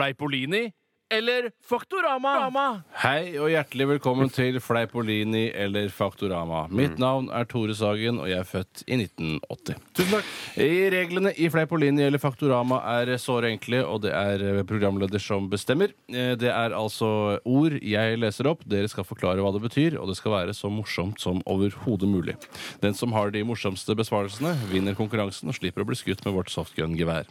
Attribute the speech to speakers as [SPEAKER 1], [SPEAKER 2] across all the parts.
[SPEAKER 1] Fleipolini eller Faktorama?
[SPEAKER 2] Hei og hjertelig velkommen til Fleipolini eller Faktorama. Mitt navn er Tore Sagen, og jeg er født i 1980. Tusen takk. Reglene i Fleipolini eller Faktorama er såre enkle, og det er eh, programleder som bestemmer. Eh, Det er altså ord jeg leser opp, dere skal forklare hva det betyr, og det skal være så morsomt som overhodet mulig. Den som har de morsomste besvarelsene, vinner konkurransen og slipper å bli skutt med vårt softgun-gevær.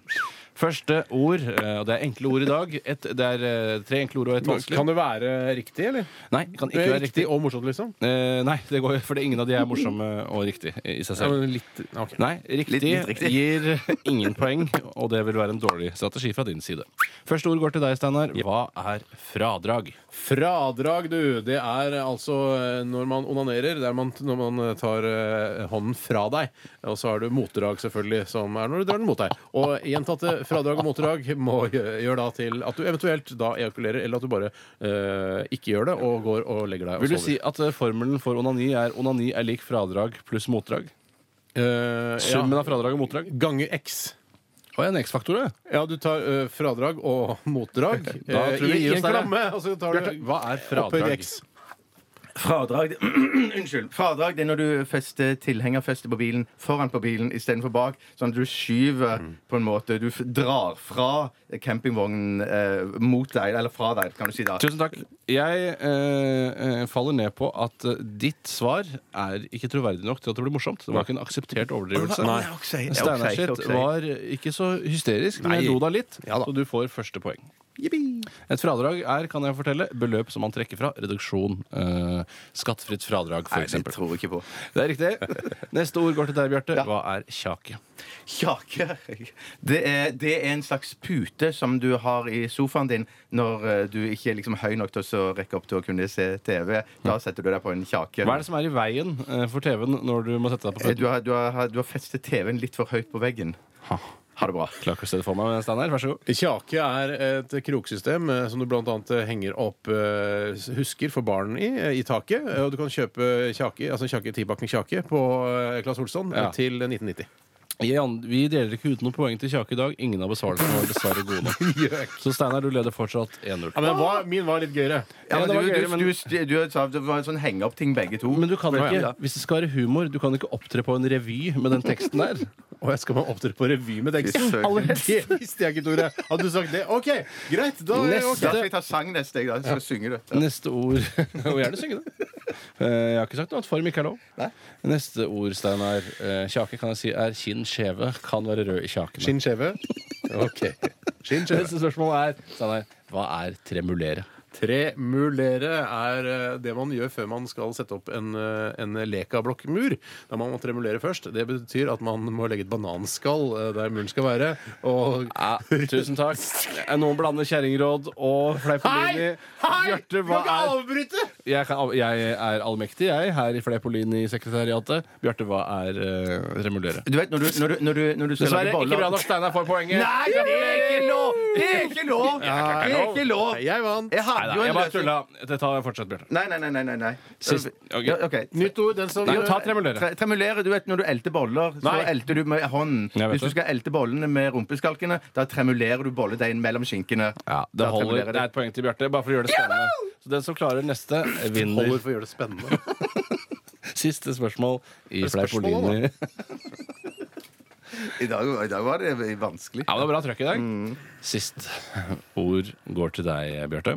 [SPEAKER 2] Første ord, eh, og det er enkle ord i dag. Et, det er eh, tre enkle ord og et vanskelig.
[SPEAKER 3] Kan det være riktig, eller?
[SPEAKER 2] Nei, det kan ikke være riktig.
[SPEAKER 3] og morsomt, liksom?
[SPEAKER 2] Eh, nei, det går jo, fordi ingen av de er morsomme og riktig i seg
[SPEAKER 3] Ja,
[SPEAKER 2] selv.
[SPEAKER 3] men litt, ok.
[SPEAKER 2] Nei, riktig,
[SPEAKER 4] litt riktig.
[SPEAKER 2] gir ingen poeng, og det vil være en dårlig strategi fra din side. Første ord går til deg, Steinar. Hva er fradrag?
[SPEAKER 3] Fradrag, du. Det er altså eh, når man onanerer. Det er man, når man eh, tar eh, hånden fra deg. Og så har du motdrag, selvfølgelig, som er når du drar den mot deg. Og gjentatte fradrag og motdrag må gjø- gjør da til at du eventuelt da ejakulerer, eller at du bare eh, ikke gjør det og går og legger deg og
[SPEAKER 2] Vil du si at eh, formelen for onani er onani er lik fradrag pluss motdrag?
[SPEAKER 3] Eh,
[SPEAKER 2] Summen
[SPEAKER 3] ja.
[SPEAKER 2] av fradrag og motdrag?
[SPEAKER 3] Ganger x.
[SPEAKER 2] Og en X-faktor, det.
[SPEAKER 3] Ja, du tar eh, fradrag og motdrag
[SPEAKER 2] Da
[SPEAKER 3] eh,
[SPEAKER 2] tror vi
[SPEAKER 3] i,
[SPEAKER 2] gir oss
[SPEAKER 3] i en
[SPEAKER 2] der, ja.
[SPEAKER 3] klamme. Og så tar du
[SPEAKER 2] Hva er
[SPEAKER 3] opphøyd i
[SPEAKER 2] fradrag?
[SPEAKER 3] x.
[SPEAKER 4] Fradrag Unnskyld. Fradrag det er når du fester tilhengerfestet på bilen foran på bilen istedenfor bak. Sånn at du skyver
[SPEAKER 2] Mm.
[SPEAKER 4] på en måte Du f- drar fra campingvognen eh, mot deg, eller fra deg, kan du si da.
[SPEAKER 2] Tusen takk. Jeg eh, eh, faller ned på at eh, ditt svar er ikke troverdig nok til at det blir morsomt. Det var ikke en akseptert overdrivelse.
[SPEAKER 4] Nei, jeg også sier- jeg også sier-
[SPEAKER 2] Steinar
[SPEAKER 4] jeg
[SPEAKER 2] sitt
[SPEAKER 4] også sier.
[SPEAKER 2] var ikke så hysterisk, men jeg
[SPEAKER 3] Nei.
[SPEAKER 2] lo da litt,
[SPEAKER 3] Ja da.
[SPEAKER 2] så du får første poeng. Et fradrag er, kan jeg fortelle, beløp som man trekker fra reduksjon. Eh, skattfritt fradrag,
[SPEAKER 4] Nei, det
[SPEAKER 2] f.eks.
[SPEAKER 4] tror jeg ikke på.
[SPEAKER 2] Det er riktig. Neste ord går til deg, Bjarte. Hva er kjake?
[SPEAKER 4] Kjake det er, det er en slags pute som du har i sofaen din når eh, du ikke er liksom høy nok til å så rekke opp til å kunne se TV. Da setter du deg på en kjake.
[SPEAKER 2] Hva er det som er i veien eh, for TV-en når du må sette deg på
[SPEAKER 4] Eh,
[SPEAKER 2] føttene?
[SPEAKER 4] Du har, du har, du har festet TV-en litt for høyt på veggen. Ha, det bra.
[SPEAKER 2] Klarer ikke å se det for meg, Steinar. Vær så god.
[SPEAKER 3] Kjake er et kroksystem eh, som du bl.a. henger opp eh, husker for barn i, eh, i taket. Eh, Og du kan kjøpe kjake, altså kjake, tibakken kjake på eh, Claes Olsson eh,
[SPEAKER 2] Ja.
[SPEAKER 3] til 1990.
[SPEAKER 2] Jeg an- Vi deler ikke ut noen poeng til Kjake i dag. Ingen av besvarelsene var dessverre gode nok. Så Steinar, du leder fortsatt 1-0.
[SPEAKER 3] Ja, men den var, min var litt gøyere.
[SPEAKER 4] Ja,
[SPEAKER 2] Ja, det
[SPEAKER 4] men du,
[SPEAKER 2] var
[SPEAKER 4] du,
[SPEAKER 2] gøy, men-
[SPEAKER 4] du, du, sa det var en sånn henge-opp-ting, begge to.
[SPEAKER 2] Men du kan
[SPEAKER 4] Ja, ja.
[SPEAKER 2] ikke, hvis det skal være humor, du kan ikke opptre på en revy med den teksten der.
[SPEAKER 3] Og jeg skal man opptre på revy med tekst?
[SPEAKER 4] Fy søren.
[SPEAKER 3] Aller helst. Det visste jeg ikke, Tore. Hadde du sagt det? OK, greit. Da er det
[SPEAKER 4] Da
[SPEAKER 3] OK.
[SPEAKER 4] skal jeg ta sang neste, jeg, da. Jeg skal synge det.
[SPEAKER 2] Neste ord Og gjerne synge det. Eh, Jeg har ikke sagt noe at form ikke er lov. Neste ord, Steinar. eh, Kjake kan jeg si er kinn skjeve. Kan være rød i kjakene.
[SPEAKER 3] Skinn skjeve. OK. Skinn skjeve.
[SPEAKER 2] Neste spørsmål er Steinar, hva er tremulere?
[SPEAKER 3] Tremulere er eh, det man gjør før man skal sette opp en, eh, en lekablokkmur. Da man må tremulere først. Det betyr at man må legge et bananskall eh, der muren skal være. Og
[SPEAKER 2] Ja, tusen takk. Eh, Noen blander kjerringråd og fleipolini. Bjarte, hva er
[SPEAKER 3] avbryte!
[SPEAKER 2] jeg, kan, jeg er allmektig, jeg, her i Fleipolini-sekretariatet. Bjarte, hva er uh, remulere?
[SPEAKER 4] Du vet, når du, når du, når du, når du skal
[SPEAKER 2] Dessverre
[SPEAKER 4] lage
[SPEAKER 2] ikke bra
[SPEAKER 4] boller
[SPEAKER 2] nok. Steinar får poenget.
[SPEAKER 4] Nei, det er ikke lov! Det er ikke lov! Det er ikke lov!
[SPEAKER 3] Jeg vant.
[SPEAKER 4] Jeg hadde
[SPEAKER 2] Neida,
[SPEAKER 4] jo
[SPEAKER 2] jeg
[SPEAKER 4] en
[SPEAKER 2] bare
[SPEAKER 4] løsning.
[SPEAKER 2] tulla. Det tar fortsett, Bjarte.
[SPEAKER 4] Nei, nei, nei. nei, nei, nei.
[SPEAKER 2] Sist- ok.
[SPEAKER 4] Ja, ok.
[SPEAKER 3] Nytt ord. Den som
[SPEAKER 2] Nei, men ta tremulere.
[SPEAKER 4] Tre- Tremulere, du vet Når du elter boller, så
[SPEAKER 3] Nei.
[SPEAKER 4] elter du med hånden.
[SPEAKER 2] Jeg vet
[SPEAKER 4] Hvis du
[SPEAKER 2] det.
[SPEAKER 4] skal elte bollene med rumpeskalkene, da tremulerer du bolledeigen mellom skinkene.
[SPEAKER 2] Ja,
[SPEAKER 4] Da
[SPEAKER 2] det, holder,
[SPEAKER 4] tremulerer
[SPEAKER 2] det er et poeng til Bjarte, bare for å gjøre det spennende. Så den som klarer neste, vinner
[SPEAKER 3] holder for å gjøre det spennende.
[SPEAKER 2] siste spørsmål i
[SPEAKER 3] Det er spørsmål,
[SPEAKER 2] Fleipolini.
[SPEAKER 4] I dag, I dag var det vanskelig.
[SPEAKER 2] Ja, men det er bra trøkk i dag. Sist ord går til deg, Bjarte.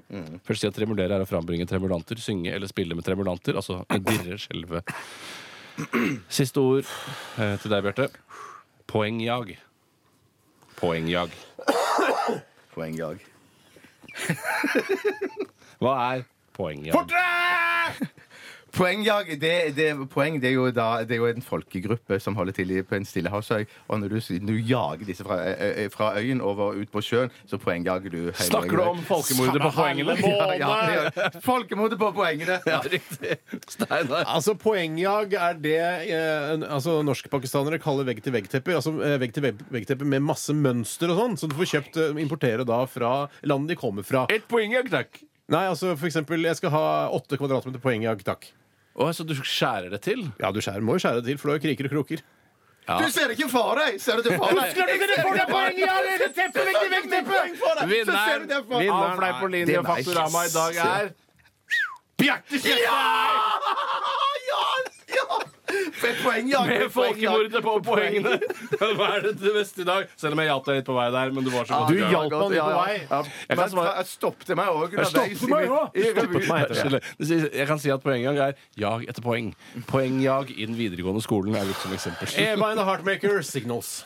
[SPEAKER 2] Først si at tremulere er å frambringe tremulanter, synge eller spille med tremulanter. Altså dirre, skjelve. Siste ord eh, til deg, Bjarte. Poengjag. Poengjag.
[SPEAKER 4] Poengjag.
[SPEAKER 2] Hva er poengjag?
[SPEAKER 4] Poengjag, det, det, poeng, det, er jo da, det er jo en folkegruppe som holder til i- på en stillehavsøy. Og når du, s- du jager disse fra, ø- ø- fra øyen over ut på sjøen, så poengjager du hele
[SPEAKER 2] Snakker du om folkemordet på poengene?
[SPEAKER 4] Ja, ja, det gjør jeg. Folkemordet på poengene! Ja.
[SPEAKER 2] Steinar.
[SPEAKER 3] Altså, Poengjag er det eh, en- altså, norskpakistanere kaller vegg-til-vegg-tepper. Altså eh, vegg-til-vegg-tepper med masse mønster og sånn, som du får kjøpt eh, importere da fra landet de kommer fra.
[SPEAKER 2] Ett poengjag, takk.
[SPEAKER 3] Nei, altså for eksempel, jeg skal ha åtte kvadratmeter poengjag, takk.
[SPEAKER 2] Å, så du skjærer det til?
[SPEAKER 3] Ja, du skjærer, må jo skjære det til, for du har jo kriker og kroker.
[SPEAKER 4] Du ser det ikke for deg! Ser du det for deg?
[SPEAKER 1] Klart ikke du får deg poeng, ja! eller Teppet vekk, vekk, teppet!
[SPEAKER 2] Vinneren av
[SPEAKER 4] Det
[SPEAKER 2] Fleipolinje
[SPEAKER 4] er
[SPEAKER 2] og
[SPEAKER 4] meg.
[SPEAKER 2] Faktorama i dag er Bjarte Tjøstheim!
[SPEAKER 4] Ja! ja! Med poeng, ja.
[SPEAKER 2] Med folkemordet på poengene! Hva er det til beste i dag? Selv om jeg hjalp deg litt på vei der, men du var så god.
[SPEAKER 3] Du hjalp han litt på vei.
[SPEAKER 4] Ja.
[SPEAKER 2] Jeg kan
[SPEAKER 4] Men
[SPEAKER 2] svare-
[SPEAKER 4] jeg stoppet meg òg.
[SPEAKER 3] stoppet meg også.
[SPEAKER 2] Unnskyld. Jeg kan si at poengjag er jag etter poeng. Poengjag i den videregående skolen er brukt som eksempel.
[SPEAKER 3] Eva and the Heartmaker Signals.